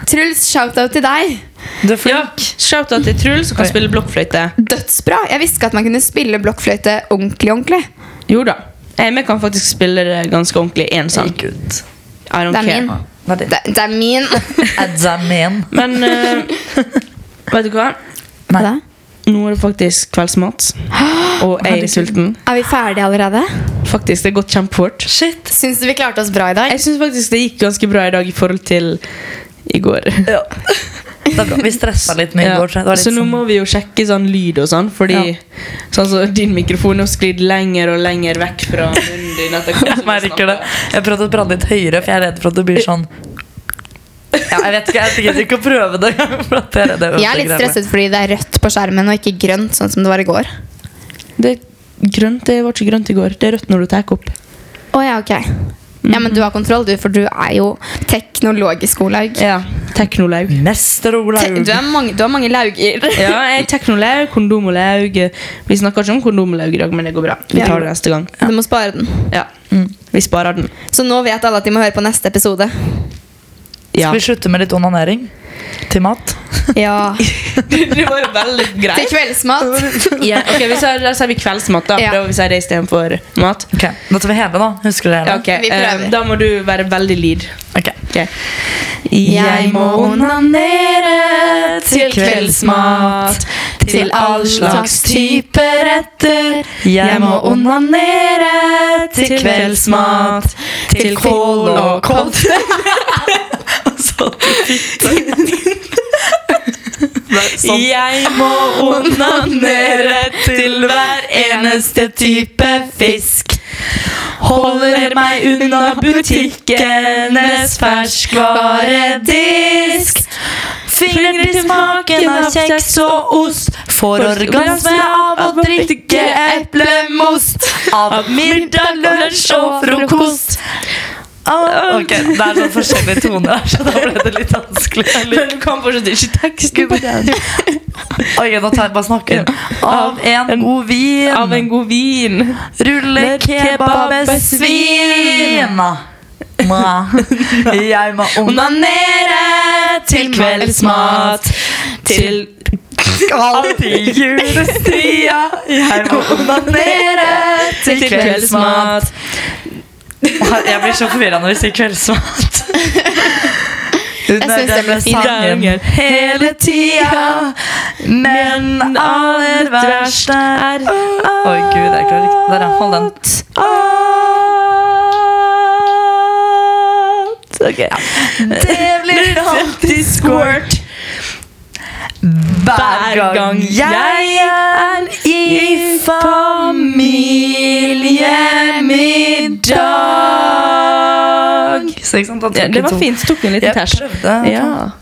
det! Truls, shout-out til deg. Du er flink. Shout-out til Truls, som kan Oi. spille blokkfløyte. Dødsbra. Jeg visste ikke at man kunne spille blokkfløyte ordentlig, ordentlig. Jo da. Eh, Vi kan faktisk spille det ganske ordentlig én sang. Herregud. I don't Det er care. min. Hva er det? Det, det er min. Adzamen. Men eh, vet du hva? *laughs* Hva Nei. da? Nå er det faktisk *gasps* kveldsmat, og jeg er sulten. Er vi ferdige allerede? Faktisk, Det har gått kjempefort. Shit. Syns du vi klarte oss bra i dag? Jeg syns faktisk det gikk ganske bra i dag i forhold til i går. Ja. Det er bra. Vi stressa litt med i Ja. går. tror jeg. Det var litt Så nå *laughs* sånn- må vi jo sjekke sånn lyd og sånn, fordi Ja. sånn som din mikrofon har sklidd lenger og lenger vekk fra munnen din. etter hvert *laughs* Jeg som vi merker det. snakker. Jeg prøvde å prate litt høyere, for jeg er redd for at det blir sånn ja, Jeg vet ikke, jeg gidder ikke å prøve det. *laughs* For at jeg, er redd Jeg er litt stresset fordi det er rødt på skjermen og ikke grønt, sånn som det var i går. Det er grønt, det var ikke grønt i går. Det er rødt når du tar opp. Å ja, ok. Ja, men du har kontroll, du, for du er jo teknologisk, Olaug. Ja, teknolaug. Mester Te- Olaug. Du, er mange, du har mange lauger. Ja, jeg er teknolaug, kondomolaug. Vi snakker ikke om kondomolaug i dag, men det går bra. Vi tar det neste gang. Du må spare den. Ja, Vi sparer den. Så nå vet alle at de må høre på neste *laughs* episode. Ja. *laughs* Skal vi slutte med litt onanering til mat? Ja. det var jo veldig Til *laughs* kveldsmat. Ja, ok, vi sier, Da sier vi kveldsmat, da. Ja. Prøver vi å si det istedenfor mat. Ok, Da tar vi hele, da. Husker dere Ja, hele? ok, Vi prøver. eh, Da må du være veldig lyd. Ok. Ok. Jeg må onanere til kveldsmat, til all slags type retter. Jeg må onanere til kveldsmat, til kål og kål. Jeg må onanere til hver eneste type fisk. Holder meg unna butikkenes ferskvaredisk. Fingre til smaken av kjeks og ost. Får orgasme av å drikke eplemost. Av middag, lunsj og frokost. Ok, Det er sånn forskjellige toner, her, så da ble det litt vanskelig. Men du kan fortsatt ikke teksten på den. Ok, da tar jeg bare snakken. Av en god vin. Av en god vin. Rulle kebab med svin. Ma. Jeg må onanere til kveldsmat. Til Alt i julestria. Jeg må onanere til kveldsmat. Jeg blir så forvirra når vi sier kveldsmat. Jeg synes det ble fint. Hele tida, men aller verst er Oi, gud, jeg klarer ikke Der, ja. Hold den. Det blir alltid squirt hver gang jeg er i familiemiddag. Så ikke sant, da tok Ja, det jeg var to. fint. Tok en liten Jeg tæsj. prøvde. Ja.